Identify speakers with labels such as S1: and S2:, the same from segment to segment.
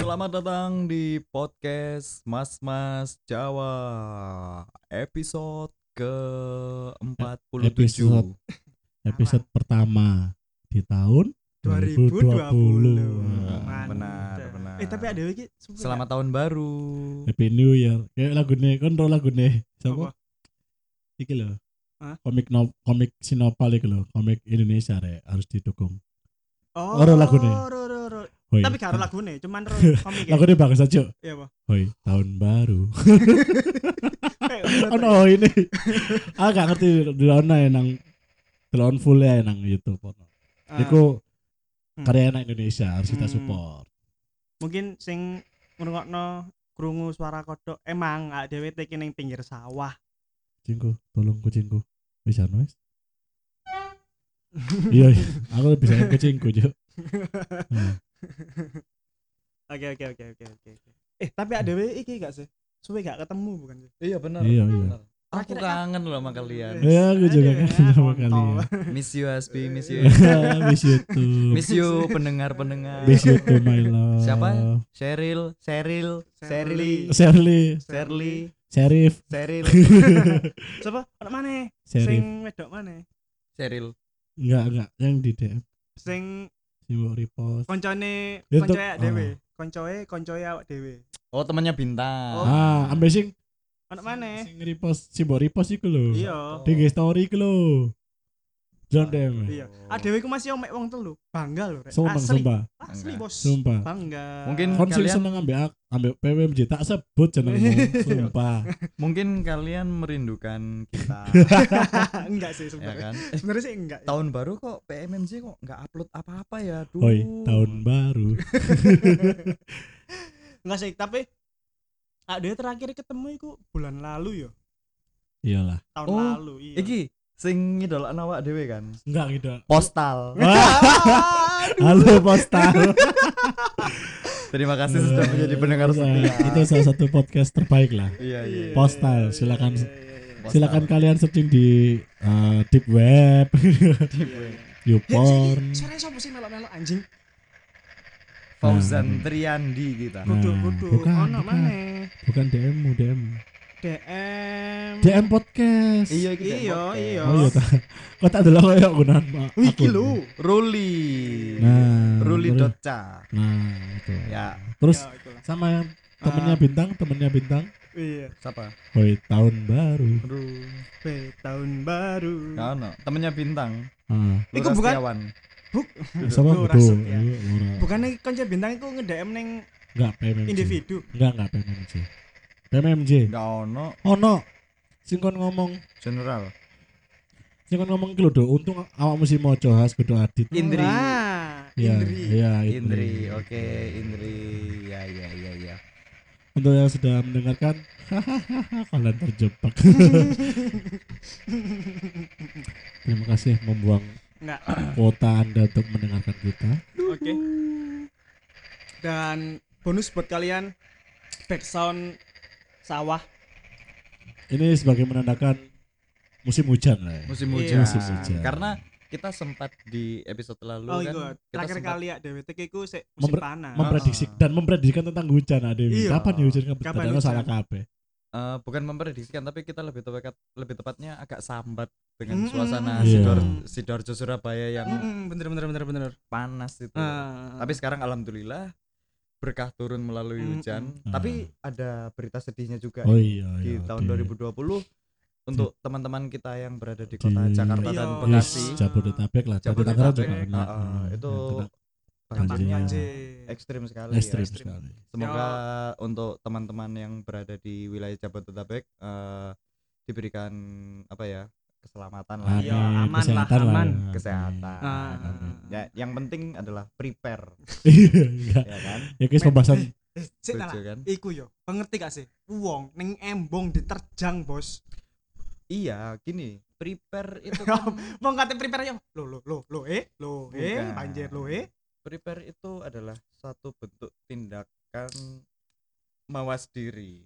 S1: Selamat datang di podcast Mas Mas Jawa episode ke 47
S2: Episode. episode pertama di tahun
S3: 2020.
S2: 2020.
S3: Mantap.
S1: benar, benar.
S3: Eh tapi ada lagi sumpah.
S1: Selamat tahun baru. Eh,
S2: Happy New Year. Kayak lagu nih, kan ro lagu nih.
S3: Apa?
S2: Siapa? Iki loh.
S3: Hah?
S2: Komik no, komik Sinopal iki loh, komik Indonesia rek harus didukung.
S3: Oh,
S2: Ora lagune.
S3: ro, ro, ro.
S2: Hoi.
S3: Tapi gak ada lagune, cuman ro komik. ya?
S2: Lagune bagus aja.
S3: Iya, Pak.
S2: Hoi, tahun baru.
S3: Eh,
S2: oh no, ini. ah gak ngerti di mana ya nang Delon full ya nang YouTube.
S3: Ah,
S2: Iku
S3: Hmm.
S2: karya anak Indonesia harus kita
S3: Hmm.
S2: support.
S3: mungkin sing ngrungokno krungu suara kodok emang awak dhewe teki ning pinggir sawah.
S2: Kucingku, tolong kucingku. Bisa nulis? anu, Iya, iya. aku bisa kucingku, Cuk.
S3: Oke oke oke oke oke. oke. Eh, tapi ada dhewe iki gak sih? Suwe gak ketemu bukan sih?
S1: Iya benar. ya,
S2: Iya, iya.
S1: benar. Aku
S3: Akhirnya-
S1: kangen loh sama kalian.
S2: Iya, aku juga
S3: Aduh,
S2: kangen sama
S3: kontol.
S2: kalian.
S1: Miss you Aspi, miss you.
S2: Iya. Miss you too.
S1: Miss you pendengar-pendengar.
S2: Miss you too, my love.
S1: Siapa? Cheryl, Cheryl, Sherly,
S2: Shirley,
S1: Sherly,
S2: Sheriff.
S1: Cheryl,
S3: Sapa? Ono maneh?
S2: Sheriff.
S3: Sing wedok maneh?
S1: Cheryl.
S2: Enggak, enggak. Yang di DM.
S3: Sing
S2: Si Mbok repost.
S3: Oh, koncone
S2: Itu-
S3: koncoe awak dhewe.
S2: Oh.
S3: Koncoe koncoe awak dhewe.
S1: Oh, temannya Bintang.
S3: Oh.
S2: Ah, ambil sing
S3: Ono maneh?
S2: sing repost, si Mbok repost iku lho.
S3: Iya.
S2: Di nge story iku lho. Jangan DM.
S3: Iya. Ah dhewe ku masih omek wong telu. Bangga lho rek.
S2: Sumpah,
S3: Asli.
S2: sumpah,
S3: Asli, Bos.
S2: sumpah.
S3: Bangga.
S1: Mungkin-
S2: Kon sing
S1: Kalian-
S2: seneng ambek ak- ambek PWMJ tak sebut jenengmu, sumpah.
S1: Mungkin kalian merindukan kita,
S3: enggak sih
S1: ya
S3: sebenarnya.
S1: kan?
S3: Sebenarnya sih enggak. ya.
S1: tahun baru kok PMMJ kok nggak upload apa-apa ya aduh
S2: Hoi, tahun baru.
S3: Enggak sih, tapi ah dhewe terakhir ketemu iku bulan lalu ya.
S2: Iyalah.
S3: Tahun
S1: Oh,
S3: lalu iya.
S1: iki sing ngidol awak dhewe kan
S2: Enggak gitu.
S1: postal
S2: Halo Postal.
S1: terima kasih sudah menjadi pendengar
S2: Iya,
S1: setia
S2: Itu salah satu podcast terbaik lah.
S1: iya iya
S3: Iya,
S2: Postal,
S3: iya,
S2: silakan.
S3: iya, iya, iya.
S1: Postal.
S2: Silakan kalian searching di eh, deep web, YouPorn.
S3: Eh, Sore sopo sih melok-melok anjing?
S2: Nah,
S1: Fauzan Triandi kita
S2: Nah,
S3: Kudu kudu
S2: bukan,
S3: ono
S2: bukan.
S3: maneh.
S2: Bukan DM mu, DM.
S3: DM.
S2: DM podcast.
S1: iya kita
S3: Iya, iya.
S2: Oh iya ta. Kok tak delok koyo gunan.
S3: Wiki lho.
S1: Ruli
S2: Nah,
S1: Ruli
S2: terus-
S1: Dotca
S2: Nah, itu.
S1: ya
S2: Terus
S3: Ya, itulah.
S2: sama yang temennya
S3: Ah.
S2: bintang, temennya bintang.
S3: Iya.
S1: siapa
S2: Hoi, tahun baru.
S1: Ru
S3: Be, tahun baru.
S1: nggak ono temennya Bintang
S2: Ah,
S3: Iku
S1: Lura
S3: bukan-
S1: Setiawan.
S2: sama
S3: Lurah
S2: kudu.
S3: Setia.
S2: Iya, lurah.
S3: Bukannya konco bintang iku nge-DM ning
S2: Enggak PMMJ.
S3: individu.
S2: Enggak, enggak PMMJ. PMMJ.
S1: nggak ono
S2: Ono. Sing kon ngomong,
S1: General
S2: sing kon ngomong iki lho, Dok. Untung awakmu si Mojo Has kudu adit.
S1: Indri
S3: Wah,
S2: Iya,
S3: Indri.
S2: Iya,
S1: Indri oke Indri ya ya ya ya
S2: Untuk yang sudah mendengarkan, hahaha, kalian terjebak. Terima kasih membuang
S3: Enggak.
S2: kuota Anda untuk mendengarkan kita.
S3: Oke. Dan bonus buat kalian background sawah.
S2: Ini sebagai menandakan musim hujan lah. ya.
S1: musim
S3: Iya.
S1: hujan.
S2: Musim hujan.
S1: Karena kita sempat di episode lalu kan
S3: Oh iya,
S1: kita
S3: terakhir
S1: sempat
S3: kali ya Dewi Teki ku sik musim
S2: Member-
S3: panas.
S2: memprediksi
S1: Ah.
S2: dan memprediksikan tentang hujan ada
S3: Iya.
S2: kapan nih hujan kapan
S3: Kapan
S2: Padahal
S3: hujan?
S2: salah kabeh.
S1: eh, bukan memprediksikan tapi kita lebih tepat lebih tepatnya agak sambat dengan
S3: Mm-mm.
S1: suasana
S2: Iya.
S1: Sidor Sidoarjo Surabaya yang
S3: Mm, bener bener bener bener.
S1: panas itu.
S3: Ah.
S1: Tapi sekarang alhamdulillah berkah turun melalui
S3: Mm-mm.
S1: hujan.
S2: Ah.
S1: Tapi ada berita sedihnya juga ya,
S2: Oh iya,
S1: di
S2: iya,
S1: tahun
S2: di-
S1: 2020 untuk teman-teman kita yang berada di
S2: di-
S1: kota Jakarta dan
S3: Iya.
S1: Bekasi
S2: Yes, Jabodetabek lah.
S1: Jabodetabek,
S2: Jabodetabek juga
S1: eh,
S2: kena.
S1: eh, itu
S2: yang kena
S1: banjirnya
S2: Banjirnya.
S1: ekstrim sekali
S2: ekstrim
S1: ya.
S2: sekali.
S1: Semoga
S3: Ya.
S1: untuk teman-teman yang berada di wilayah Jabodetabek eh, diberikan apa ya keselamatan lah,
S2: Amin,
S3: Iya, aman lah,
S2: kesehatan
S3: aman.
S2: ya.
S1: kesehatan.
S3: Ah.
S1: Ya, yang penting adalah prepare,
S2: Iya, enggak.
S1: ya kan?
S2: Ya guys pembahasan
S3: Eh, sik tak
S1: Setuju
S3: lah.
S1: kan?
S3: Iku yo, pengerti gak sih? Wong ning embong diterjang, Bos.
S1: Iya, gini, prepare itu kan,
S3: Wong kate prepare yo. Lo lo lo lo eh lo eh
S1: Bukan.
S3: banjir lo eh.
S1: prepare itu adalah satu bentuk tindakan mawas diri.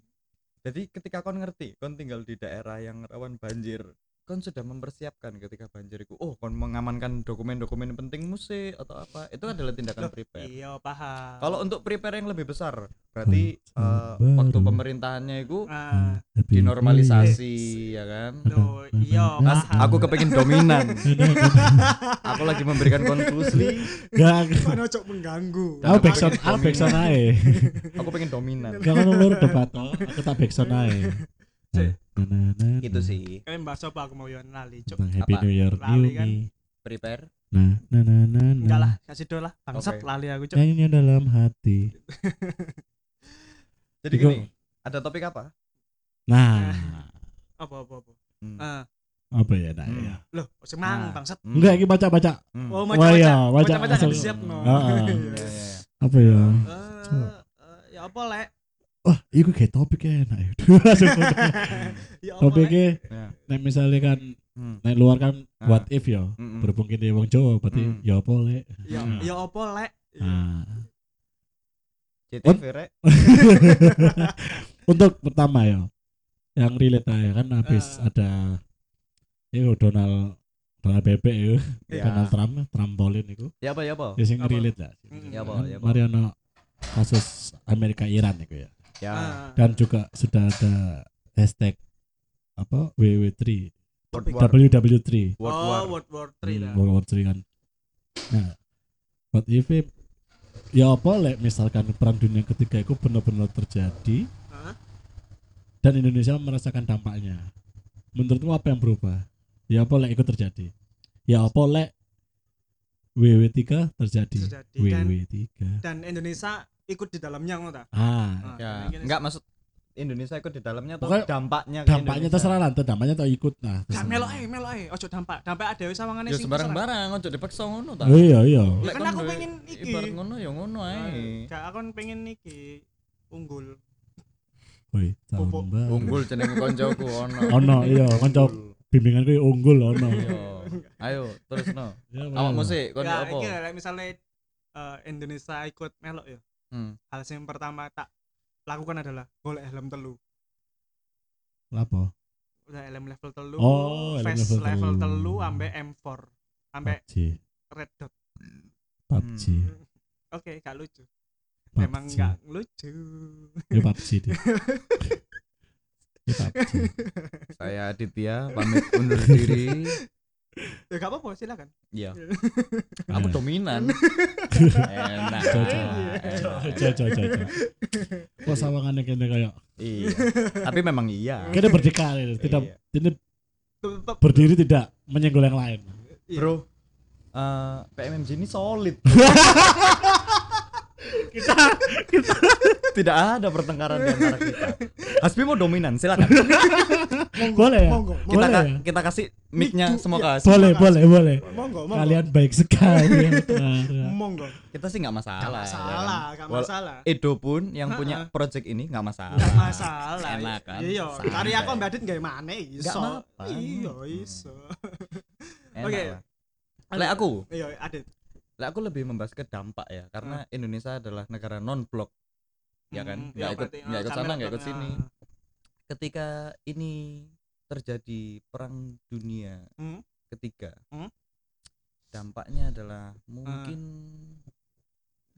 S1: Jadi ketika kon ngerti, kon tinggal di daerah yang rawan banjir, kon sudah mempersiapkan ketika banjir itu oh kon mengamankan dokumen-dokumen penting musik atau apa itu adalah tindakan
S3: Loh,
S1: prepare
S3: iya paham
S1: kalau untuk prepare yang lebih besar berarti
S2: Hmm,
S1: eh,
S2: baru.
S1: waktu pemerintahannya itu
S3: Ah,
S1: dinormalisasi ya kan
S3: loh, iya
S2: Mas,
S1: Mas,
S3: paham
S1: Nah, aku kepengin dominan
S2: Iya.
S1: aku lagi memberikan konklusi
S2: Gak,
S3: Kok nojok mengganggu
S2: aku
S1: Karena
S2: backsound,
S1: pakai
S2: aku backsound aja.
S1: aku pengen dominan
S2: Gak kan ulur debat, toh. aku tak backsound aja.
S1: Cek.
S2: Nah, nah, nah,
S3: Iya.
S1: itu
S2: nah.
S1: Gitu sih
S3: kalian bahas apa aku mau yon lali cuk
S2: Tentang Happy
S1: Apa?
S2: New Year,
S3: Lali
S2: New
S3: kan?
S2: Me.
S1: prepare
S2: Nah, nah, nah, nah, nah.
S3: enggak lah kasih do lah bangsat
S1: Oke. Eh.
S3: lali aku cuk
S2: Nyanyinya dalam hati.
S1: jadi
S2: Iku-
S1: gini ada topik apa
S2: Nah,
S3: apa apa apa
S1: Hmm.
S3: Ah,
S2: apa ya, nah,
S1: Hmm.
S2: ya.
S3: loh semang
S1: Nah.
S3: bangsat
S1: Hmm,
S2: Enggak, gitu. ini baca-baca.
S1: hmm.
S3: oh
S2: Wah, iya,
S3: macam-macam
S2: baca-
S3: macam-macam
S2: asal-
S3: nggak siap no
S2: Ah, ah.
S1: Iya, iya, iya.
S2: Apa ya?
S3: Eh, eh, ya apa lek
S2: Wah, itu kayak topiknya enak. ya.
S3: ya apa lek
S2: topiknya
S1: Ya.
S2: nek misalnya kan
S1: Hmm.
S2: nek luar kan
S1: Ah.
S2: what if ya
S1: Mm-mm.
S2: berhubung kini wong Jawa berarti
S1: Hmm.
S2: ya apa lek
S3: ya
S1: Hmm.
S3: ya apa lek
S1: Mm.
S2: Nah.
S1: CTV rek
S2: untuk pertama ya yang relate aja kan habis
S3: Ah.
S2: ada itu Donald Donald Bebek itu
S1: ya
S2: Donald Trump trampolin itu
S1: ya apa ya apa
S2: ya sing
S3: Apa?
S2: relate lah
S3: Hmm.
S1: Ya, apa,
S2: Kan
S1: ya, apa.
S2: mari ono kasus Amerika Iran itu ya
S1: ya
S3: Ah.
S2: dan juga sudah ada hashtag apa WW3
S1: World War
S2: WW3
S1: World
S3: oh
S1: War
S3: World War 3 lah
S2: Hmm, World War III kan. Nah, what if it- ya apa lek misalkan perang dunia ketiga itu benar-benar terjadi
S3: Hah?
S2: dan Indonesia merasakan dampaknya. Menurutmu apa yang berubah? Ya apa lek itu terjadi? Ya apa lek WW3 terjadi?
S3: terjadi kan? dan
S2: WW3.
S3: dan Indonesia ikut di dalamnya ngono ta
S2: Ah,
S3: Ah,
S1: ya
S3: dan ini-
S1: enggak maksud Indonesia ikut di dalamnya atau
S2: Pokoknya
S1: dampaknya ke
S2: dampaknya
S1: Indonesia?
S2: terserah lah, entah dampaknya atau ikut nah.
S3: Gak
S2: terserah.
S3: melo Ya, ae, melo ae. Ojo dampak. Dampak ada wis sawangane
S1: ya
S3: sing
S1: sembarang
S3: besar.
S1: barang ojo dipaksa ngono ta
S2: Oh, iya iya.
S1: Lek
S3: Kan
S1: kon
S3: aku
S1: duwe
S3: pengen iki.
S1: ibarat ngono ya ngono ae
S3: Nah, Gak aku pengen niki unggul.
S2: Woi, tahun
S3: Pupuk.
S2: baru.
S1: unggul jeneng koncoku ono
S2: Ono iya, kanca bimbingan kuwi unggul ono.
S1: Iya. ayo terus no
S2: Ya,
S1: awakmu
S2: makanya.
S1: sih kon
S3: Ya
S1: apa
S3: iki lek misale eh, Indonesia ikut melok ya.
S1: Hmm.
S3: Hal yang pertama tak lakukan adalah golek helm telu.
S2: Lapo?
S3: Udah helm level telu,
S2: Oh, helm
S3: face
S2: level
S3: level
S2: telu.
S3: telu ambek M4, ambek
S2: PUBG,
S3: red dot.
S2: PUBG,
S1: Hmm,
S3: Oke, gak lucu.
S2: PUBG.
S3: Memang gak lucu.
S2: Ya PUBG deh. Ya PUBG.
S1: saya Aditya pamit undur diri
S3: Ya gak apa-apa, silakan.
S1: iya kamu
S2: Kamu
S1: dominan enak
S2: Nah, Cocok.
S1: Iya. enak.
S2: Cocok, cocok. Kok sawangannya kene kayak
S1: iya tapi memang iya
S2: kene berdikari, tidak
S1: Iya.
S2: ini
S3: Tutup.
S2: berdiri tidak menyenggol yang lain.
S3: Iya.
S1: bro eh, PMMG ini solid
S2: Kita
S1: tidak ada pertengkaran di antara kita Hasbi mau dominan silakan
S2: boleh ya?
S3: Monggo, monggo.
S1: kita
S2: Boleh
S1: ka-
S2: ya?
S1: kita kasih mic-nya
S3: Mic
S1: semua
S3: tuh,
S1: ke Hasbi.
S2: Boleh, boleh, boleh.
S3: Monggo, monggo.
S2: Kalian baik sekali. Nah, Clara.
S3: monggo.
S1: kita sih nggak masalah
S3: Gak
S1: ya
S3: masalah,
S1: kan?
S3: gak
S1: Wal-
S3: masalah.
S1: Edo pun yang
S3: Ha-ha.
S1: punya project ini nggak masalah
S3: Gak masalah.
S1: Enak kan?
S3: Iya,
S1: Santai.
S3: karya aku Mbak Dit gak mana
S1: Gak
S3: iso.
S1: apa-apa.
S3: Iya,
S1: Hmm.
S3: iso.
S1: Enak
S3: Oke.
S1: lah. Lek aku,
S3: Iya, Adit.
S1: lek aku lebih membahas ke dampak ya, karena Indonesia adalah negara non blok. Ya kan?
S3: Mm,
S1: Nggak ikut-
S3: berarti,
S1: nggak ikut
S3: sambil
S1: sana, nggak ikut
S3: nonton,
S1: sini. Ketika ini terjadi perang dunia
S3: Hmm.
S1: ketiga,
S3: Hmm.
S1: dampaknya adalah mungkin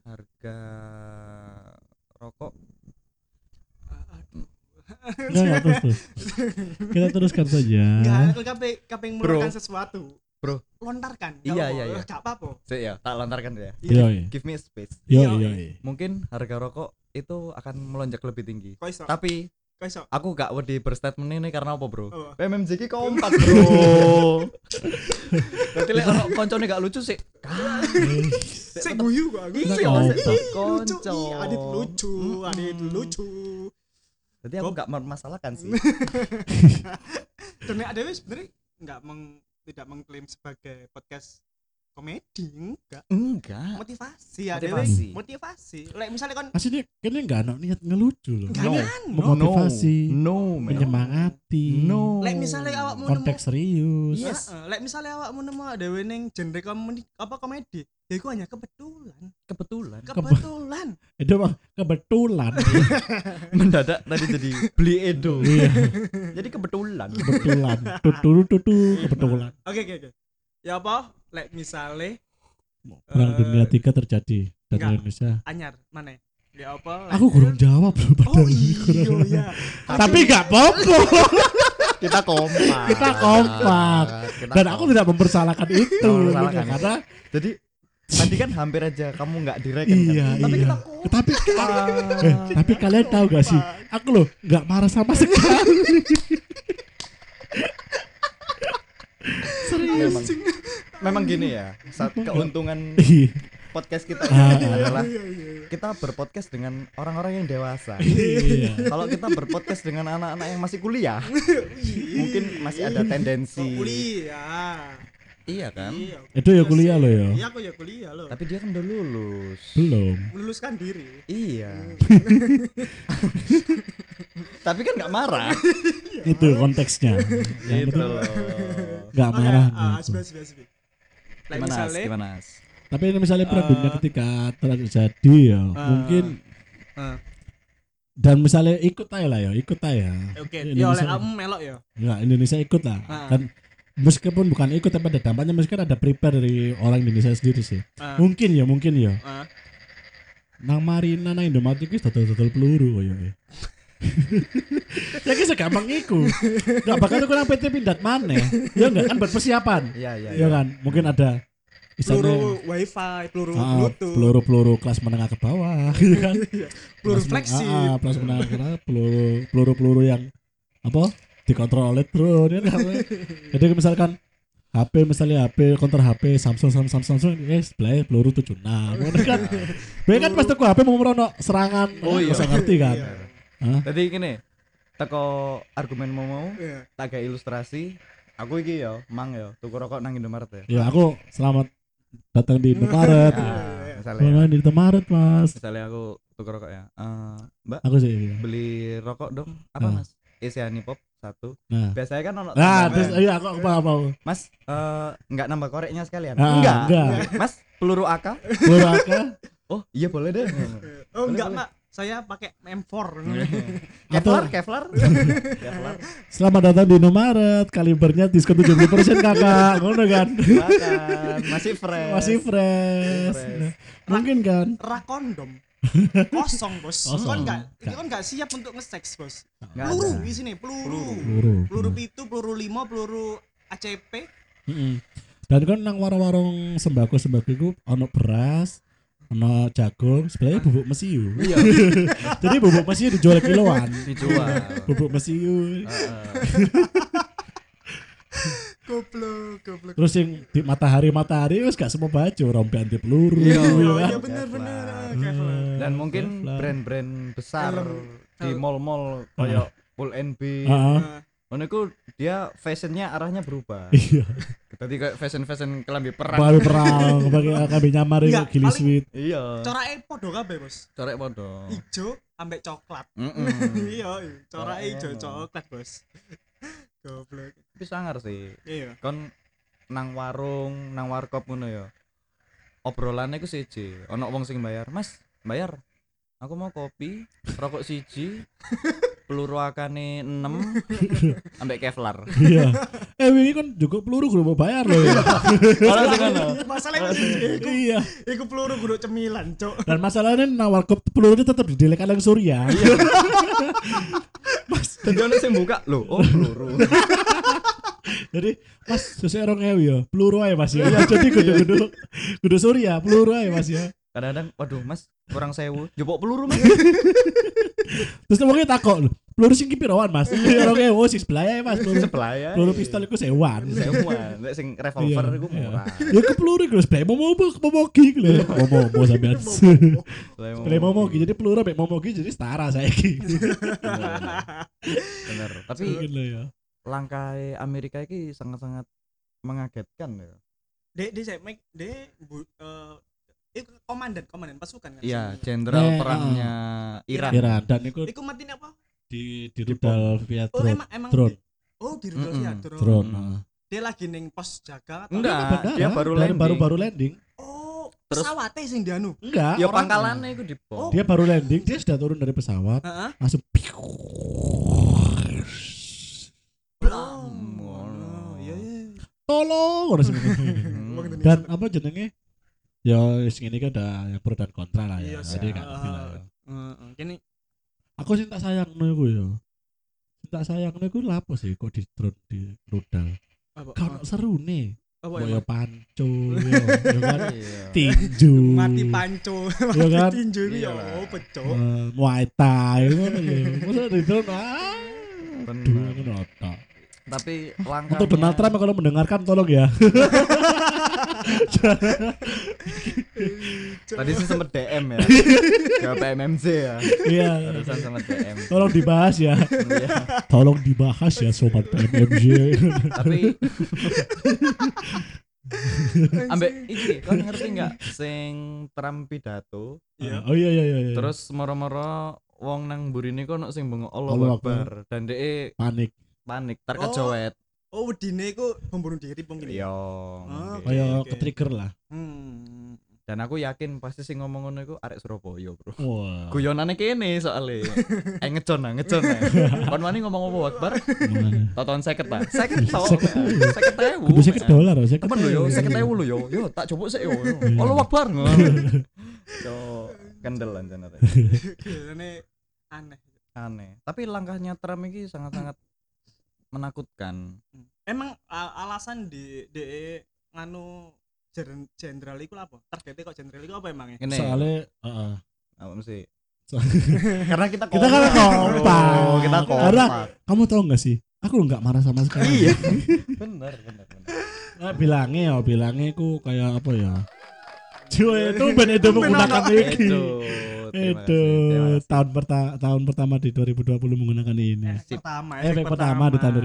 S1: harga rokok
S3: ah, ah,
S2: Enggak, enggak, terus, terus. Kita teruskan saja.
S3: Enggak, aku kape kaping
S1: Bro.
S3: melakukan sesuatu.
S1: Bro.
S3: Lontarkan.
S1: Iya, iya, iya.
S3: Enggak apa-apa.
S1: Sik ya, tak lantarkan ya.
S2: Yo,
S1: Give me space.
S2: yo, yo.
S1: Mungkin harga rokok itu akan melonjak lebih tinggi.
S3: Kok iso?
S1: Tapi
S3: Kok iso? Oh.
S1: aku gak wedi berstatement ini karena apa, Bro?
S3: Apa?
S1: PMMJ ki kompak, Bro. Berarti lek ono koncone gak lucu sih. Kan?
S3: Saya guyu kok aku.
S2: Iya,
S1: Iya,
S2: kompak.
S1: sih,
S3: lucu.
S1: konco.
S3: Ih, Adit lucu,
S1: Mm-mm.
S3: Adit lucu.
S1: Berarti aku
S3: Kok-
S1: gak mempermasalahkan sih.
S3: Dan ada sebenarnya enggak meng tidak mengklaim sebagai podcast komedi enggak
S1: enggak
S3: motivasi
S1: Iya,
S3: ya
S4: Motivasi.
S3: motivasi motivasi like misalnya kon
S2: aslinya kayaknya nggak ada niat ngelucu loh
S1: Nggak. No.
S3: ganyan
S2: Memo- Motivasi.
S1: no, no man.
S2: menyemangati
S1: no
S3: like misalnya awakmu nemu
S2: konteks serius
S1: Iya.
S3: yes.
S1: Yes.
S3: like misalnya awakmu nemu dewe ning genre komedi apa komedi ya iku hanya kebetulan
S1: kebetulan
S3: kebetulan
S2: itu mah kebetulan
S1: mendadak tadi jadi beli edo
S2: Iya,
S4: Jadi kebetulan.
S2: kebetulan tuturu tutu kebetulan
S3: oke oke oke ya apa like misalnya
S2: perang
S3: Eh,
S2: dunia tiga terjadi dan
S3: enggak. Nah,
S2: Indonesia
S3: anyar mana ya apa like-
S2: aku kurang jawab loh
S3: oh
S2: padahal.
S3: iya
S2: Kurang-
S3: iya
S2: tapi nggak apa-apa
S4: Kita kompak.
S2: Kita kompak.
S3: Nah.
S4: Kita
S2: dan aku tidak mempersalahkan itu
S4: Mempersalahkan.
S2: karena
S1: jadi tadi kan hampir aja kamu nggak direken
S2: iya
S1: kan?
S2: iya
S4: kita
S2: tapi eh, tapi kalian tahu gak sih aku loh nggak marah sama sekali serius
S1: memang memang gini ya saat keuntungan
S2: Iya.
S1: podcast kita
S2: Ah, ah.
S1: adalah
S3: Iya,
S1: kita berpodcast dengan orang-orang yang dewasa
S2: Iya.
S1: kalau kita berpodcast dengan anak-anak yang masih kuliah mungkin masih ada
S3: Kok
S1: tendensi
S3: Iya, kuliah
S1: iya kan
S3: Iya,
S2: itu ya kuliah loh ya
S3: Iya, aku ya kuliah loh.
S1: tapi dia kan udah lulus
S2: belum
S3: Meluluskan diri.
S1: iya tapi kan nggak marah
S2: itu konteksnya yang
S1: Gitu
S2: penting
S1: loh
S2: nggak
S3: Oke,
S2: marah
S3: ah,
S2: gitu.
S3: asbes, asbes, asbes. Like
S1: gimana As?
S3: misalnya,
S1: gimana As?
S2: tapi ini misalnya perang
S3: Eh,
S2: dunia ketika terjadi ya
S3: Ah.
S2: mungkin
S3: eh.
S2: dan misalnya ikut aja lah ya ikut aja
S3: Oke,
S2: Ini
S3: ya oleh
S2: misalnya-
S3: kamu melok ya.
S2: ya Indonesia ikut lah
S3: Ah.
S2: kan meskipun bukan ikut tapi ada dampaknya meskipun ada prepare dari orang Indonesia sendiri sih
S3: Ah,
S2: mungkin ya mungkin ya
S3: ah.
S2: nang Marina nang Indomaret iki dodol-dodol peluru koyo e. ya ki segampang iku. Enggak bakal kurang PT pindad maneh. Ya enggak kan buat persiapan.
S1: iya iya
S2: Ya kan, mungkin ada istilahnya,
S3: Peluru wifi, peluru
S2: ah,
S3: bluetooth, peluru,
S2: peluru-peluru kelas menengah ke bawah, ya kan? Kelas men-
S3: fleksi.
S2: ah, ah, kelas menengah ke bawah, peluru peluru-peluru yang apa? Dikontrol oleh drone ya kan? Jadi misalkan HP misalnya HP konter HP Samsung Samsung Samsung Samsung eh sebelah peluru 76 ngono kan. Bener kan pas tuku HP mau merono serangan
S1: Oh iya.
S2: bisa ngerti kan.
S3: Iya.
S1: Jadi gini, teko argumen mau mau,
S3: Iya.
S1: tak kayak ilustrasi. Aku iki yo, mang yo, tuku rokok nang Indomaret ya.
S2: Ya aku selamat datang di Indomaret.
S1: Ya, misalnya,
S2: Selamat di Indomaret, Mas.
S1: misalnya aku tuku rokok ya. Eh, Mbak,
S2: Aku sih. iya.
S1: beli rokok dong. Apa
S2: Ah.
S1: Mas? Isian pop satu.
S2: Nah.
S1: Biasanya kan ono
S2: Nah,
S1: tambahan.
S2: terus iya aku aku paham paham.
S1: Mas, eh enggak nambah koreknya sekalian?
S2: Ah,
S1: enggak.
S2: enggak.
S1: Mas, peluru AK?
S2: Peluru aka
S1: Oh, iya boleh deh.
S3: Oh enggak,
S1: boleh.
S3: Pak. Saya pakai M4.
S1: Kevlar,
S2: atau
S1: Kevlar. Kevlar.
S2: selamat datang di Indomaret, kalibernya diskon 70% Kakak. Ngono kan.
S1: Makan. Masih fresh.
S2: Masih fresh.
S1: Fresh.
S2: Nah, Mungkin kan.
S3: Rak kondom. Kosong, Bos.
S2: Kosong.
S3: Kon enggak, itu kan enggak siap untuk nge-sex, Bos.
S1: Enggak ada.
S3: Peluru di sini, peluru.
S2: Peluru.
S3: Peluru pitu, peluru lima, peluru ACP.
S2: Mm-mm. Dan kan nang warung-warung sembako sembako itu ono beras, ono jagung, sebenarnya bubuk mesiu.
S1: Iya,
S2: Jadi bubuk mesiu dijual kiloan.
S1: dijual.
S2: Bubuk mesiu.
S1: Heeh.
S3: Goblok, goblok.
S2: Terus yang di matahari matahari wis gak semua baju rompi anti peluru. Nah,
S1: Iya.
S2: ya
S3: Oh,
S2: kan?
S3: iya bener-bener.
S1: Kevlar.
S3: ah, Kevlar.
S1: dan mungkin
S2: Kevlar. Nah.
S1: brand-brand besar
S3: Kalau-
S1: Hmm. di
S3: kalau-
S1: mall-mall kayak Pull and Bear,
S2: Ah,
S3: Nah,
S1: ngono iku dia fashionnya arahnya berubah.
S2: Iya.
S1: Tadi kayak fashion-fashion kelambi perang.
S2: Baru perang pakai LKB nyamar itu
S3: Enggak,
S2: gili
S3: paling-
S2: sweet.
S1: Iya.
S3: corake e podo kabeh, Bos.
S1: Corek podo.
S3: Ijo ambek coklat.
S1: Heeh.
S3: Iya, corake
S1: Corake
S3: ijo
S1: ngono.
S3: coklat, Bos. Goblok.
S1: Tapi sangar sih.
S3: Iya.
S1: Kon nang warung, nang warkop ngono ya. Obrolannya iku siji. Ono wong sing bayar, "Mas, bayar." Aku mau kopi, rokok siji, peluru akane 6 ambek Kevlar.
S2: Iya. Eh wingi kan juga peluru gue mau bayar loh ya.
S1: Ono sing ngono.
S3: Masalahnya iku
S2: iya.
S3: iku peluru guduk cemilan, Cok.
S2: Dan masalahnya nawar kop peluru itu tetap didelek lagi surya.
S1: Jadi ono sing buka, "Loh, oh peluru."
S2: Jadi mas sesuai orang ewe ya peluru aja mas ya.
S1: Iya.
S2: Ya, Jadi kudu kudu kudu surya peluru aja mas ya.
S1: kadang-kadang waduh mas kurang sewu jebok peluru mas
S2: Terus wongnya takok lho, peluru sing ki pirawan mas. Orang ewe oh, sing sebelah aja mas. Peluru,
S1: Iya. sebelah ya
S2: peluru pistol itu sewan.
S1: sewuan nek sing revolver
S2: Iya,
S1: iku
S2: iya.
S1: murah
S2: Ya ke peluru gue sebelah mau mau mau mau ki gitu lho. Mau mau sampean. Sebelah mau gitu. mau ki
S1: Iya,
S2: jadi peluru mek mau mau ki jadi setara saya
S1: iya.
S2: ki.
S1: bener tapi
S2: Mungkin lho ya.
S1: langkah Amerika ini sangat-sangat mengagetkan ya
S3: Dek, dek, saya make, dek, bu, eh, eh, komandan, komandan pasukan kan?
S1: Iya,
S3: seninya.
S1: jenderal
S2: Eh, Iya,
S1: perangnya Iran.
S2: Iran dan itu
S3: Iku matine apa?
S2: di di rudal via
S3: Oh,
S2: drone.
S3: emang emang
S2: Drone.
S3: di- Oh, di Rudolf
S1: Mm-mm,
S3: ya, drone.
S2: Drone.
S1: Mm.
S2: ah.
S3: Dia lagi ning pos jaga atau?
S1: Enggak,
S2: Ini
S1: dia
S2: bandara,
S1: baru
S2: dan
S1: landing.
S2: Baru baru landing.
S3: Oh,
S1: Terus-
S3: pesawate sing dianu.
S2: Enggak.
S1: Ya
S2: orangnya.
S1: pangkalannya itu di bom.
S3: Oh.
S2: Dia baru landing, dia sudah turun dari pesawat,
S3: Heeh.
S2: langsung
S1: Blam.
S3: Oh, iya iya.
S2: tolong harus ini.
S1: Hmm.
S3: Wong Indonesia.
S2: dan apa jenenge ya wis ngene iki ada yang pro dan kontra lah ya
S3: Iya,
S2: jadi
S1: sih.
S2: gak ngerti lah ya.
S3: Heeh, kene
S2: aku sih tak sayangno iku ya Sing tak sayangno iku lapo sih kok di drone di rudal
S3: apa?
S2: gak ono serune
S3: Apa
S2: Mbok
S3: ya?
S2: ya pancu ya ya kan
S1: Iya.
S2: tinju
S3: Mati panco,
S2: Iya
S3: mati
S2: kan?
S3: tinju iki ya,
S1: Iyalah.
S3: oh, pecok.
S2: eh, muay thai ngono ya masa di drone ah aduh
S1: Benar.
S2: ngono tok.
S1: Tapi langkahnya
S2: untuk Donald Trump kalau mendengarkan tolong ya
S1: Tadi sih sempet DM ya. Ke PMMC ya.
S2: iya
S1: Barusan sempet DM.
S2: tolong dibahas ya
S1: Iya.
S2: tolong dibahas ya sobat PMMJ
S1: Tapi ambek iki kon ngerti nggak sing Trump pidato
S3: Iya.
S2: Oh iya iya iya. iya.
S1: terus moro-moro wong nang burine kok ono sing bengok
S2: Allahu
S1: Allah Akbar dan dhek
S2: panik.
S1: panik terkejowet.
S3: Oh, wedine iku pembunuh diri mungkin
S1: Yo.
S3: ya.
S2: Oh.
S3: Ah,
S1: mungkin.
S2: Kayak
S3: oke.
S2: ke trigger lah.
S3: Hmm.
S1: Dan aku yakin pasti sing ngomong ngono iku arek Surabaya, Bro.
S2: Wah.
S1: Guyonane kene soalé. Eh ngecon nah, ngecon. nah. Kon wani ngomong apa Akbar?
S2: Gimana?
S1: Toton 50 ta. 50 to. 50.000.
S2: 50. Kudu seket dolar, seket.
S1: Temen lho yo, 50.000 lho yo. Yo tak coba sik yo.
S2: Iya.
S1: Allahu Akbar. ngono. Yo kendel anjana.
S3: Kayaknya aneh.
S1: Aneh. Tapi langkahnya Trump ini sangat-sangat menakutkan.
S3: Emang a- alasan di de nganu jen- jenderal iku apa? Targetnya kok jenderal iku apa emangnya?
S1: Ngene.
S2: Soalnya uh, heeh.
S1: apa sih?
S2: So-
S1: Karena kita
S2: Kita kan kompak.
S1: Bro. Oh, Kita kompak.
S2: Karena- kamu tahu nggak sih? Aku nggak marah sama sekali.
S1: Iya. bener, bener, bener.
S2: Nah, bilangnya ya, bilangnya ku kayak apa ya?
S1: Iya.
S2: Cuy, itu ben itu menggunakan iki.
S1: terima
S2: Itu
S1: kasih, terima kasih.
S2: tahun pertama tahun pertama di 2020 menggunakan ini.
S3: Efek
S1: Iya, Sip.
S3: pertama,
S2: Efek pertama di tahun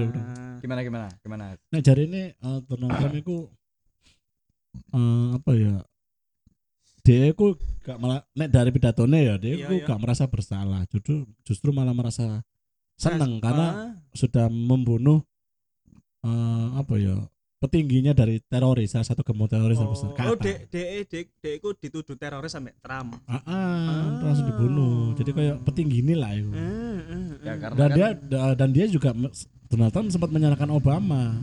S1: Gimana gimana? Gimana?
S2: Nah, jari ini eh, Donald Trump itu eh, apa ya? Dia itu gak malah nek dari pidatonya ya, dia
S3: Iya,
S2: itu
S3: iya.
S2: gak merasa bersalah. Justru justru malah merasa senang karena
S3: Ah,
S2: sudah membunuh eh, apa ya? petingginya dari teroris, salah satu gembong teroris terbesar
S3: Oh, oh
S2: Qatar.
S3: dek dek dek dek iku dituduh teroris sampe Trump.
S2: Ah, ah, langsung dibunuh. Jadi kayak petinggi ini lah itu.
S3: Hmm, hmm,
S1: Ya
S3: hmm.
S1: karena
S2: Dan
S1: kan
S2: dia da- dan dia juga me- Donald Trump sempat menyalahkan Obama.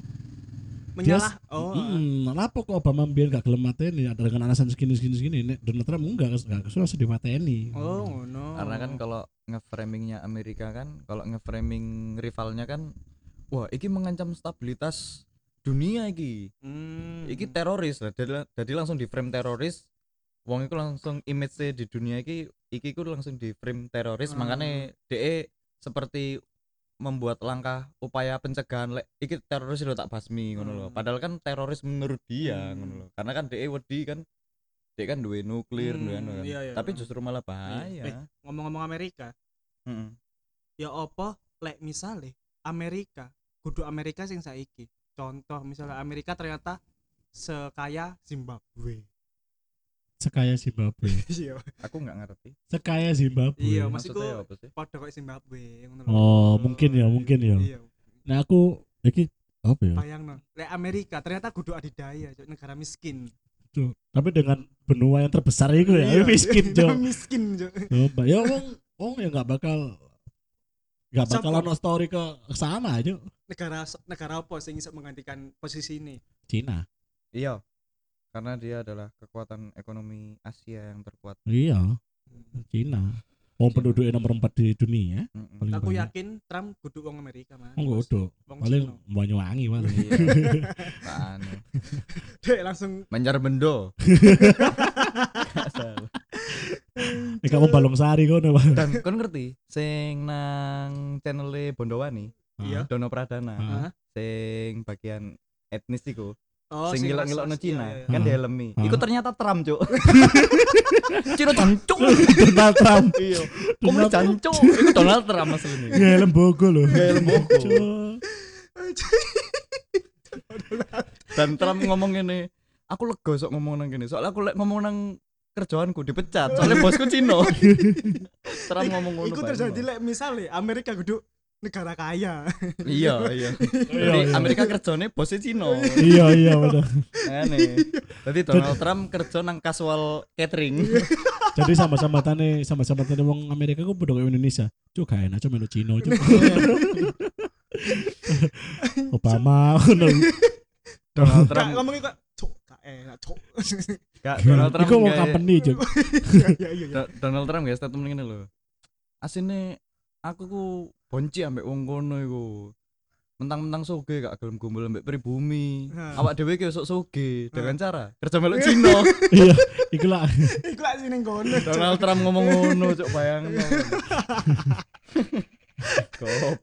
S3: menyalah. Oh,
S2: Hmm, lapo kok Obama biar gak gelem mateni ada dengan alasan segini segini segini nek Donald Trump enggak enggak kesulitan sedih mateni.
S3: oh ngono.
S1: karena kan kalau ngeframingnya Amerika kan, kalau ngeframing rivalnya kan, wah, iki mengancam stabilitas dunia iki.
S3: Hmm.
S1: Iki teroris lah. Jadi, jadi langsung di frame teroris. Wong iku langsung image di dunia iki iki ku langsung di frame teroris,
S3: Hmm.
S1: makanya DE seperti membuat langkah upaya pencegahan lek iki teroris lo tak basmi ngono lho.
S3: Hmm.
S1: Padahal kan teroris menurut dia
S3: Hmm.
S1: ngono lho. Karena kan DE wedi kan DE kan duwe nuklir duwe anu
S3: Hmm,
S1: kan.
S3: iya, iya,
S1: Tapi
S3: iya.
S1: justru malah
S3: Eh,
S1: bahaya.
S3: ngomong-ngomong Amerika,
S1: Heeh.
S3: ya apa lek misale Amerika, kudu Amerika sing saiki. Contoh
S2: Hmm.
S3: misalnya Amerika ternyata sekaya Zimbabwe.
S2: Sekaya Zimbabwe.
S3: Iya.
S1: Aku nggak ngerti.
S2: Sekaya Zimbabwe.
S3: Iya, Mas,
S1: Maksudnya
S3: iku-
S1: apa sih?
S3: Padha kok Zimbabwe ngono lho.
S2: Oh, mungkin ya, mungkin ya.
S3: Iya.
S2: Nah, aku iki apa ya?
S3: Bayangno, lek Amerika ternyata kudu adidaya, Cuk, negara miskin.
S2: Cuk, Tapi dengan benua yang terbesar itu ya,
S3: Iya,
S2: miskin
S3: negara
S2: cok.
S3: miskin, Cuk.
S2: Coba ya wong wong ya enggak bakal enggak
S3: Siapa?
S2: bakal ono story ke sana aja
S3: Negara negara apa sing iso menggantikan posisi ini?
S2: Cina.
S1: Iya. Karena dia adalah kekuatan ekonomi Asia yang terkuat.
S2: Iya, Cina. Wong penduduknya nomor 4 di dunia
S1: Mm-mm.
S2: paling
S3: Aku
S2: banyak.
S3: yakin Trump kudu wong Amerika, Mas.
S2: Wong kudu. iya.
S3: Wong
S2: Paling
S3: Cina.
S2: Banyuwangi paling.
S1: Iya. Apaan ya?
S3: Dek langsung
S1: Banjar Bendo.
S2: Nek kamu balong sari kono, Pak.
S1: Dan kon ngerti sing nang channel Bondowani,
S3: Iya.
S1: Dono Pradana,
S2: Ah.
S3: Hah?
S1: sing bagian etnis iku,
S3: Oh,
S1: Ah. sing ngilok-ngilokno
S3: ras-ras, iya,
S1: Cina,
S3: iya, iya.
S1: kan
S2: Ah.
S1: dihelmi.
S2: Ah.
S1: Iku ternyata Trump, Cuk. Cina jancuk.
S2: Donald Trump.
S1: Iya. Komun jancuk. Iku Donald Trump asline.
S2: Gaya lembogo loh.
S1: Gaya lembogo.
S2: Cuk.
S1: Dan Trump ngomong ngene, aku lega sok ngomong nang kene soalnya aku lek ngomong nang kerjaanku dipecat soalnya bosku Cino terang ngomong ngono
S3: Iku
S1: Pak.
S3: terjadi lek misalnya Amerika kudu negara kaya.
S1: iya iya
S2: Iya,
S1: jadi
S2: iya.
S1: Amerika kerjane bosnya Cino
S2: iya iya bener.
S1: aneh jadi Donald Trump kerja nang casual catering
S2: jadi sama-sama tane sama-sama tane wong Amerika ku podo kayak Indonesia cuk gak enak cuma melu Cino cuk Obama ngono.
S1: Donald
S3: Nggak,
S1: Trump
S3: ngomongnya kok cok gak enak cok.
S1: gak Donald Trump
S2: Iku wong
S1: nggak-
S2: company cuk
S3: Ya iya iya.
S1: Do- Donald Trump guys statement ngene lho. Asine aku ku bonci ambek wong kono iku. Mentang-mentang soge gak gelem gombol ambek pribumi.
S3: Hah.
S1: Awak dhewe ki sok soge dengan cara kerja melok Cina.
S2: iya iku lah
S3: Iku lek sini ngono. Cok.
S1: Donald Trump ngomong ngono cok bayangno. Goblok.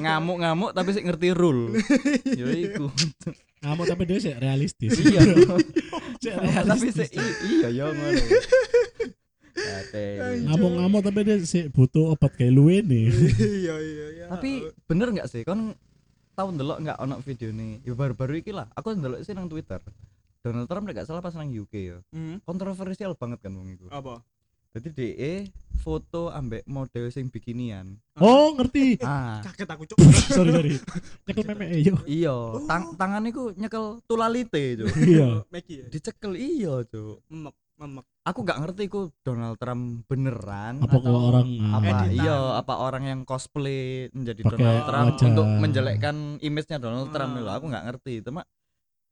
S1: Ngamuk-ngamuk tapi sik ngerti rule. Ya iku.
S2: ngamuk tapi dia sih realistis
S1: Iya. Tapi
S2: Sik realistis.
S1: sik i- iya ya ngono. Ate.
S2: ngamuk-ngamuk tapi dia sih butuh obat kayak lu ini
S3: Iya iya iya.
S1: tapi bener nggak sih kon tahu ndelok nggak ono video nih ya baru-baru iki lah aku ndelok sih nang Twitter Donald Trump nek nggak salah pas nang UK ya
S3: Hmm,
S1: kontroversial banget kan wong iku
S3: apa?
S1: jadi DE foto ambek model sing bikinian
S2: oh ngerti
S1: ah
S3: Kaget aku cok.
S2: sorry sorry nyekel meme e. yo
S1: iya tang tangan iku nyekel tulalite cuk
S2: iya
S3: Meki ya.
S1: dicekel iya cuk
S3: Memek memek.
S1: aku nggak ngerti iku Donald Trump beneran
S2: apa kok
S1: atau
S2: orang ah,
S1: apa
S3: Editan.
S1: iya apa orang yang cosplay menjadi
S2: Pakai
S1: Donald Trump
S3: wajah.
S1: untuk menjelekkan image-nya Donald Trump
S3: Ah.
S1: lho aku nggak ngerti cuma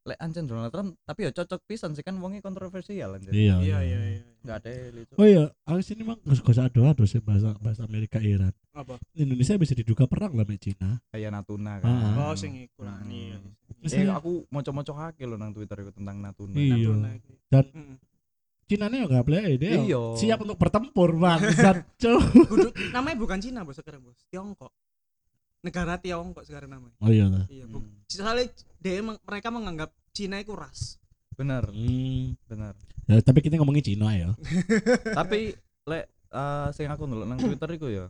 S1: lek ancen Donald Trump tapi ya cocok pisan sih kan wonge kontroversial anjir
S2: iya
S3: Iya iya iya.
S1: nggak ada itu
S2: oh iya aku sini mah gak gak usah doa doa sih bahasa bahasa Amerika Iran
S3: Apa?
S2: Indonesia bisa diduga perang lah sama Cina
S1: kayak Natuna kan
S2: Ah.
S3: Oh sing iku lah
S1: Hmm.
S3: iya.
S1: eh aku moco-moco hake lho nang Twitter itu tentang Natuna
S2: Iya. Dan-
S3: Hmm.
S2: Cina nih nggak boleh dia
S1: Iya.
S2: siap untuk bertempur bangsat cuy
S3: Kudu- namanya bukan Cina bos sekarang bos Tiongkok negara Tiongkok sekarang namanya
S2: oh iya lah
S3: iya bu
S1: Hmm.
S3: soalnya dia emang- mereka menganggap Cina itu ras
S1: bener
S2: Hmm.
S1: bener
S2: Ya, tapi kita ngomongin Cina ya
S1: tapi lek eh, sing aku ndelok nang Twitter iku ya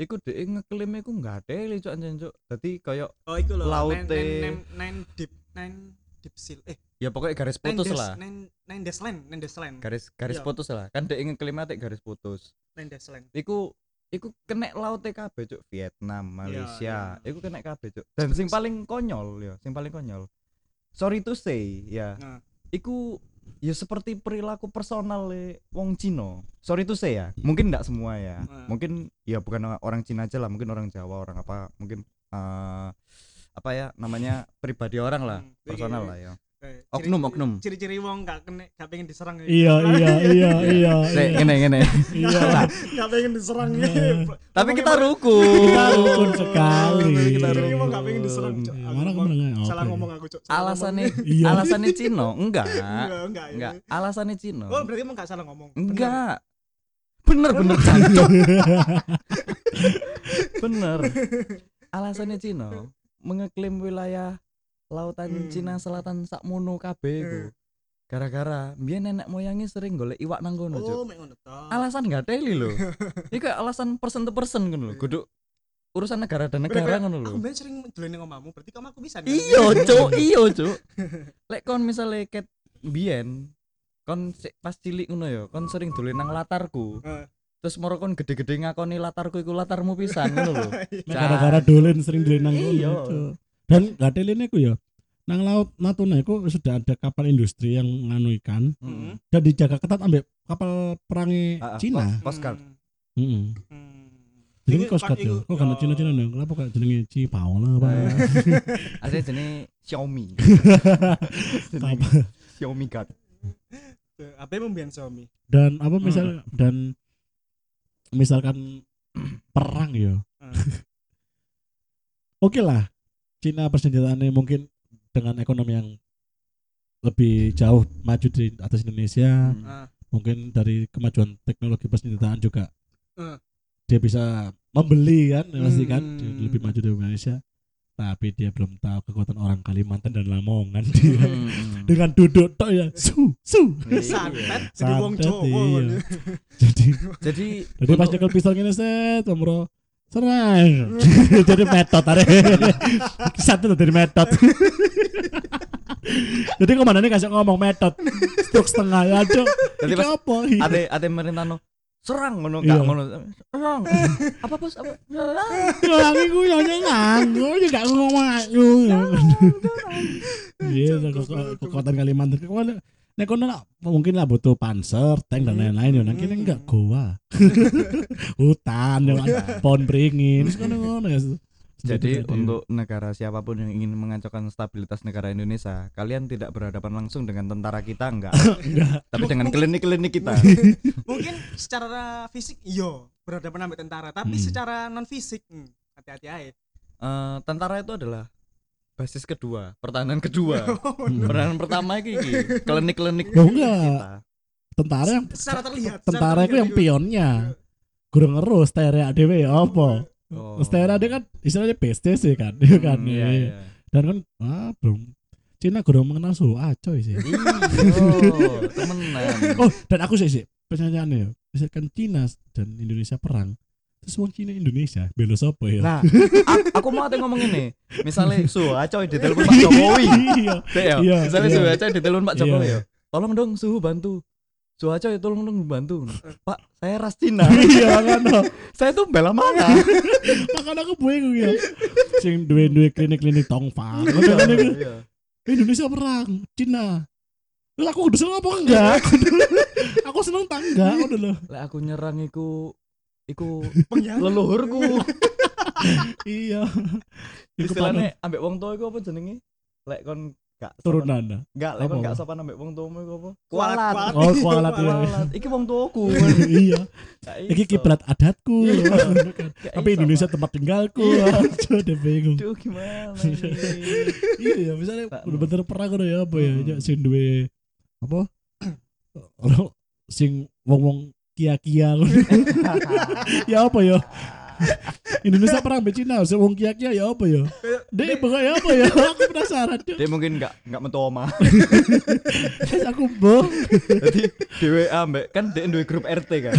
S1: iku dhek ngeklaim iku nggak ada cuk anjen cuk dadi kayak
S3: oh itu loh
S1: Laute.
S3: nine, nine, nine- nine deep nine deep seal eh
S1: ya pokoknya garis
S3: nine
S1: putus
S3: des-
S1: lah
S3: nine nine desland nine desland
S1: garis garis
S3: Iya.
S1: putus lah kan dhek ngeklaim ate garis putus
S3: nine desland
S1: iku iku kena laut kabeh cuk Vietnam Malaysia
S3: iya.
S1: iku kena kabeh cuk dan sing paling konyol ya sing paling konyol sorry to say ya
S3: Nah.
S1: iku ya seperti perilaku personal wong Cina sorry to say ya mungkin ndak semua ya
S3: Nah.
S1: mungkin ya bukan orang Cina aja lah mungkin orang Jawa orang apa mungkin eh, apa ya namanya pribadi orang lah
S3: Hmm.
S1: personal
S3: Iya,
S1: lah ya
S3: Eh,
S1: Oknum,
S3: ciri-
S1: oknum.
S3: ciri-ciri wong gak kena gak pengen diserang ya.
S2: iya iya iya iya
S1: Nek,
S2: iya.
S1: ngene ngene
S2: iya
S1: Nah,
S3: gak pengen diserang ya.
S2: Iya.
S1: tapi
S3: Ngomongnya
S1: kita
S3: mana-
S1: rukun
S2: Kita rukun sekali.
S1: kita
S3: Ciri-ciri wong gak pengen diserang
S1: rukun.
S3: Cok.
S2: Iya,
S3: Aku
S2: mana
S3: ngomong-
S2: kemana
S3: salah ngomong aku cok Salah
S1: alasannya
S3: ngomong.
S2: iya
S1: alasannya Cino enggak
S3: enggak enggak ya.
S1: enggak alasannya Cino
S3: oh berarti emang gak salah ngomong Bener.
S1: enggak bener bener jancuk. bener alasannya Cino mengeklaim wilayah lautan
S3: Hmm. Eh.
S1: Cina Selatan sakmono kabeh iku gara-gara biar nenek moyangnya sering golek iwak nang kono Cuk.
S3: oh mek ngono ta
S1: alasan nggak teli loh ini kayak alasan person to person kan loh
S3: Iya.
S1: kudu urusan negara dan
S3: Bener,
S1: negara kan loh
S3: aku ben sering dolen nang omamu berarti kamu aku bisa kan?
S1: iyo cuk iyo cuk lek kon misalnya ket bien kon sik pas cilik ngono ya kon sering dolen nang latarku
S3: Heeh.
S1: terus moro kon gede-gede ngakoni latarku iku latarmu pisan ngono lho
S2: Nek gara-gara dolen sering dolen nang
S1: Iya.
S2: kono, Cuk. Dan gak ada lainnya ku ya. Nang laut Natuna itu sudah ada kapal industri yang nganu ikan
S1: Mm.
S2: dan dijaga ketat ambek kapal perangi
S1: Ah, ah,
S2: Cina.
S1: Coast Guard.
S2: Heeh.
S3: Hmm.
S2: Jadi
S3: Iku-
S2: Coast Guard ya.
S3: iku-
S2: Kok karena
S3: yo.
S2: Cina-Cina dong? Kenapa kok jenenge Cipao lah apa?
S1: Eh. Asli jenis Hmm. Xiaomi Jenenge
S2: Apa?
S1: Xiaomi Guard
S3: Eh, Apa yang membiang suami?
S2: Dan apa misal dan misalkan perang ya.
S3: Hmm.
S2: Oke lah. Cina persenjataannya mungkin dengan ekonomi yang lebih jauh maju di atas Indonesia.
S1: Hmm.
S3: Ah,
S2: mungkin dari kemajuan teknologi persenjataan juga
S3: Eh.
S2: dia bisa membeli kan ya pasti kan
S3: Hmm.
S2: dia lebih maju dari Indonesia tapi dia belum tahu kekuatan orang Kalimantan dan Lamongan
S1: Hmm.
S2: dengan duduk tok ya su su
S1: Iya,
S3: santet jadi
S2: Santet,
S3: wong Jawa.
S2: iya.
S3: waduh.
S2: jadi
S1: Jadi
S2: jadi pas nyekel pistol gini set Om bro serang jadi metot are satu tuh dari metot Jadi komandannya kasih ngomong metot. Stuk setengah ya, Cuk.
S1: Jadi
S2: Iki
S1: pas
S2: apa?
S1: ate ate pemerintah no serang ngono
S2: Iya.
S1: gak ngono. Serang. Apa bos? Apa? Serang.
S2: Orang iku yo nyengang, yo yo gak ngomong ayu. Iya, ke- ke- kekuatan Kalimantan. Kekuatan Nek kono nak- mungkin lah butuh panser, tank dan lain-lain yo nang kene
S3: Hmm.
S2: enggak goa. Hutan yo ada pohon beringin. Terus kono ngono ya.
S1: Jadi untuk negara siapapun yang ingin mengacaukan stabilitas negara Indonesia, kalian tidak berhadapan langsung dengan tentara kita enggak.
S2: Enggak.
S1: Tapi dengan klinik-klinik kita.
S3: mungkin secara fisik iyo berhadapan sama tentara tapi
S2: Hmm.
S3: secara non fisik hmm, hati-hati aja
S1: Eh, tentara itu adalah basis kedua, pertahanan kedua.
S2: Hmm.
S1: Pertahanan pertama iki iki, klinik-klinik
S2: Loh, Ya enggak.
S1: kita.
S2: Tentara yang
S3: secara terlihat secara
S2: tentara itu yang
S3: terlihat gitu. iyo.
S2: pionnya. Gurung ngeru stereo dhewe ya apa?
S1: Oh.
S2: Stereo dia kan istilahnya PSTC kan, iya kan.
S1: Hmm, iya, iya.
S2: Dan kan ah belum Cina gurung mengenal suhu acoy sih.
S1: iya. Iyo, temenan.
S2: oh dan aku sih sih pertanyaannya ya misalkan Cina dan Indonesia perang terus wong Cina Indonesia belo sopo ya
S1: Nah, a- aku mau ate ngomong ini. Misalnya suhu acoy di telepon Pak Jokowi.
S2: iya
S1: Dek ya.
S2: Iya,
S1: Misalnya
S2: iya.
S1: suhu acoy di telepon Pak Jokowi
S2: Iya.
S1: ya. Tolong dong suhu bantu. Suhu acoy tolong dong bantu. Pak, saya ras Cina.
S2: iya kan no.
S1: saya tuh bela mana?
S2: Iya. makanya aku bueng ya sing duwe duwe klinik klinik tongfang Ngono-ngono.
S1: Iya.
S2: Indonesia perang Cina Lah aku udah seneng apa enggak? aku seneng tangga udah loh.
S1: Lek aku nyerang iku iku
S3: Pengkhianat.
S1: leluhurku.
S2: Iya. Iku panut
S1: Istilahnya ambek wong tua iku apa jenenge? Lek kon gak sopan-
S2: turunan.
S1: Enggak, lek kon
S2: Apa?
S1: gak sopan ambek wong tuamu iku apa?
S3: Kualat,
S1: Kualat.
S2: Oh, kualat ya.
S1: Kualat. Iki wong tuaku.
S2: Iya.
S1: Gak
S2: Iki
S1: iso.
S2: kiblat adatku.
S1: Iya. Gak
S2: Tapi
S1: iso,
S2: Indonesia
S1: Pak.
S2: tempat tinggalku.
S1: Iya.
S2: Aduh, udah bingung.
S1: Aduh gimana ini?
S2: iya ya misalnya
S1: Tak
S2: bener-bener perang ngono ya apa ya
S1: Mm.
S2: ya, sing duwe apa Ono sing wong-wong kia-kia ngono. ya apa ya Indonesia perang be Cina sing wong kia-kia ya apa ya Dek bengok ya apa ya aku penasaran Dek.
S1: Dia mungkin gak gak metu oma.
S2: Terus aku bong
S1: Jadi dhewe ambek kan dia duwe grup RT kan.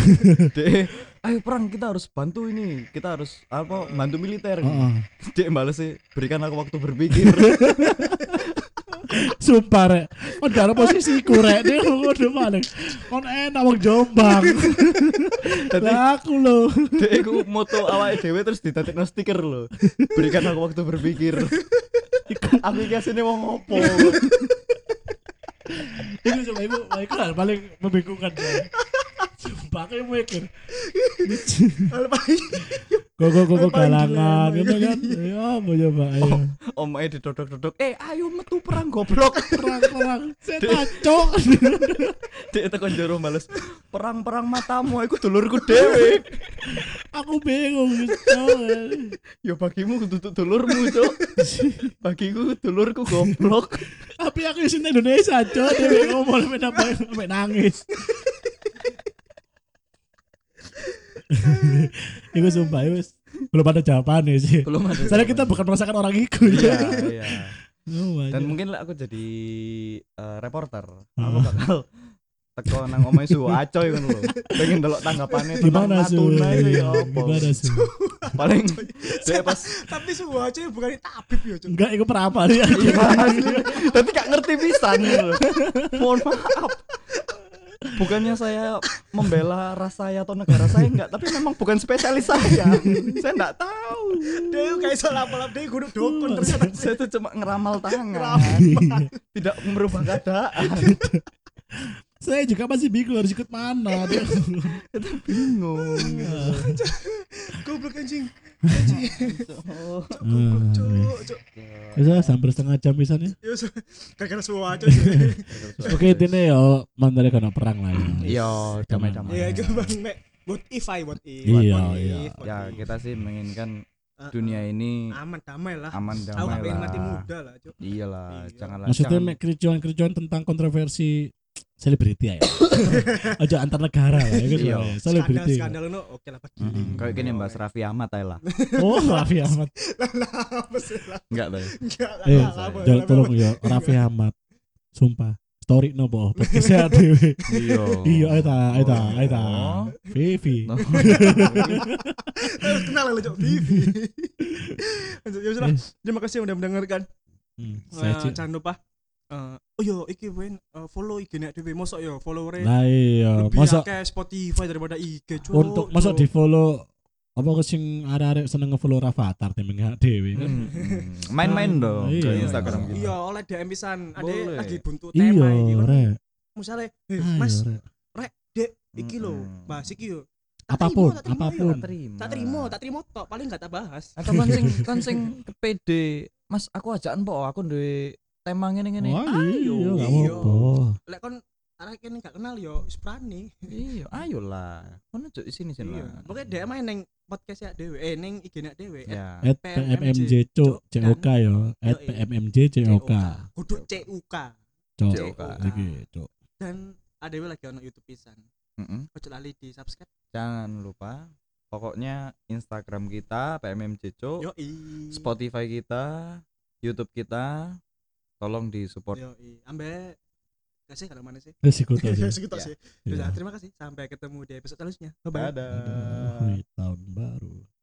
S1: Dia ayo perang kita harus bantu ini. Kita harus apa bantu militer.
S2: Heeh.
S1: Dia bales sih berikan aku waktu berpikir.
S2: sumpah rek kon gak ada posisi iku rek Dek, ngono paling kon enak wong Jombang
S1: Dadi
S2: lah aku lho
S1: dia iku moto awake dhewe terus ditatikno stiker lho. Berikan aku waktu berpikir. Iku- aku iki asline wong opo?
S2: itu coba ibu wah, itu hal paling membingungkan saya sumpah kayak mikir
S3: Hal paling
S2: go go go go
S3: Paling gila,
S2: galangan
S3: emang.
S2: gitu kan ya apa coba ayo
S1: Omae didodok-dodok, "Eh, ayo metu perang goblok."
S2: perang perang saya cok
S1: Dia tekan jero males. Perang-perang matamu iku dulurku dhewe.
S2: aku bingung gitu
S1: Ya bagimu kudu dulurmu, Cuk. Bagiku dulurku goblok.
S2: tapi aku isin Indonesia cok dia ngomong sampai nambah sampai nangis Iku sumpah, iku belum ada jawabannya sih.
S1: Belum ada.
S2: Soalnya kita bukan merasakan orang iku.
S1: Iya,
S2: ya.
S1: iya.
S2: Oh,
S1: Dan
S2: banyak.
S1: mungkin lah aku jadi eh, reporter. Aku
S2: Hmm.
S1: bakal teko nang omae suhu acoy ngono lho. Pengen delok tanggapannya tentang
S2: gimana sih?
S1: Natuna itu ya apa.
S2: Gimana sih?
S1: Paling saya pas
S3: tapi semua aja bukan tabib ya cuy
S2: Enggak, itu peramal ya.
S1: Tapi gak ngerti pisan gitu loh. Mohon maaf. Bukannya saya membela ras saya atau negara saya enggak, tapi memang bukan spesialis saya. saya enggak tahu.
S3: dia
S2: Hmm.
S3: kayak salah lapalap dia guduk dukun ternyata
S1: Saya tuh cuma ngeramal tangan,
S3: Ngeramal.
S1: tidak merubah keadaan.
S2: Saya juga masih bingung harus ikut mana.
S1: Itu bingung.
S3: goblok anjing
S2: Hmm.
S3: goblok cuk cuk
S2: Bisa sampai setengah jam pisannya.
S3: ya so gara-gara semua aja sih
S2: Oke, intinya ya mandiri karena perang lah. Ya.
S1: Yo, Iya, damai-damai.
S3: ya gitu bang mek what if I what if
S2: Iya,
S3: what
S2: iya.
S3: if, what
S1: Ya,
S3: if.
S1: kita sih menginginkan
S3: Ah,
S1: dunia ini
S3: aman damai lah
S1: aman
S3: aku gak
S1: damai
S3: pengen mati
S1: lah.
S3: muda lah cuk
S1: Iyalah,
S3: Iya.
S1: janganlah.
S2: Maksudnya
S1: jangan-
S2: mek kericuan-kericuan tentang kontroversi selebriti ya. Aja antar negara lah ya gitu.
S1: Iya.
S2: ya.
S3: skandal
S2: Selebriti.
S3: skandal no oke lah pagi
S2: Mm-mm.
S1: Kayak gini Mbak Raffi Ahmad ae lah.
S2: Oh, Raffi Ahmad.
S3: lah lah apa sih lah
S1: Enggak tahu.
S3: enggak lah
S2: Eh,
S3: lah, apa,
S2: Jol,
S3: lah,
S2: tolong
S3: apa.
S2: ya Raffi Ahmad. Sumpah. Story no boh, podcastnya dewe.
S1: Iya.
S2: Iya, ayo ta, ayo ta, ayo ta.
S1: Oh.
S2: Vivi.
S1: No.
S3: Harus kenal lah cuk Vivi Lanjut, ya sudah
S2: Yes.
S3: terima kasih yang udah mendengarkan
S2: Hmm, Eh. saya
S3: Eh,
S2: cek.
S3: jangan lupa eh, oh yo iki wen eh, follow IG nek dhewe mosok yo followernya
S2: Nah iya,
S3: lebih
S2: masa
S3: akeh Spotify daripada IG cuk.
S2: untuk masa
S3: Cuk.
S2: di follow apa ke sing arek-arek seneng nge-follow Rafathar temen gak dewe kan.
S1: Mm-mm. Main-main dong
S2: Iya.
S1: di Instagram kita.
S3: Iya, oleh DM pisan. Ade
S1: Boleh.
S3: lagi buntu
S2: Iya,
S3: tema iki kan.
S2: rek.
S3: Misale, "Eh,
S2: Ayo,
S3: Mas,
S2: rek.
S3: iki lho,
S1: Mm-mm. Nah.
S3: bahas iki yo.
S2: Apapun,
S3: tak terima,
S2: apapun.
S3: yo. Tak terima, tak terima tok, paling gak tak bahas.
S1: Atau kan sing kan sing PD. Mas, aku ajakan po, aku duwe tema ngene-ngene.
S2: Wah, iya, gak
S3: Iya.
S2: apa-apa.
S3: Lek kon arek kene gak kenal yo, wis prani.
S1: Iya, ayolah. Kono juk sini sini lah.
S3: Iya. Pokoke DM ae ning podcast ya dhewe, eh ning IG nek dhewe. Eh,
S1: Ya.
S2: at
S3: PMMJ,
S2: PMMJ cuk
S3: Cuk,
S2: COK yo at
S3: Yoi.
S2: PMMJ COK
S3: Kudu CUK.
S2: cuk
S1: COK.
S2: iki cuk
S3: Dan adewe lagi ono YouTube pisan.
S1: Mm-mm.
S3: Ojo lali di subscribe.
S1: Jangan lupa pokoknya Instagram kita PMMJ Cuk.
S3: Yo i.
S1: Spotify kita, YouTube kita, tolong di support.
S3: Yo i. Ambe kasih kalau mana sih?
S2: wis iku to sih
S3: Segitu
S1: Ya.
S3: sih.
S2: Iya.
S3: Sudah, terima kasih. Sampai ketemu di episode selanjutnya. Bye bye.
S1: Dadah.
S2: Aduh, tahun baru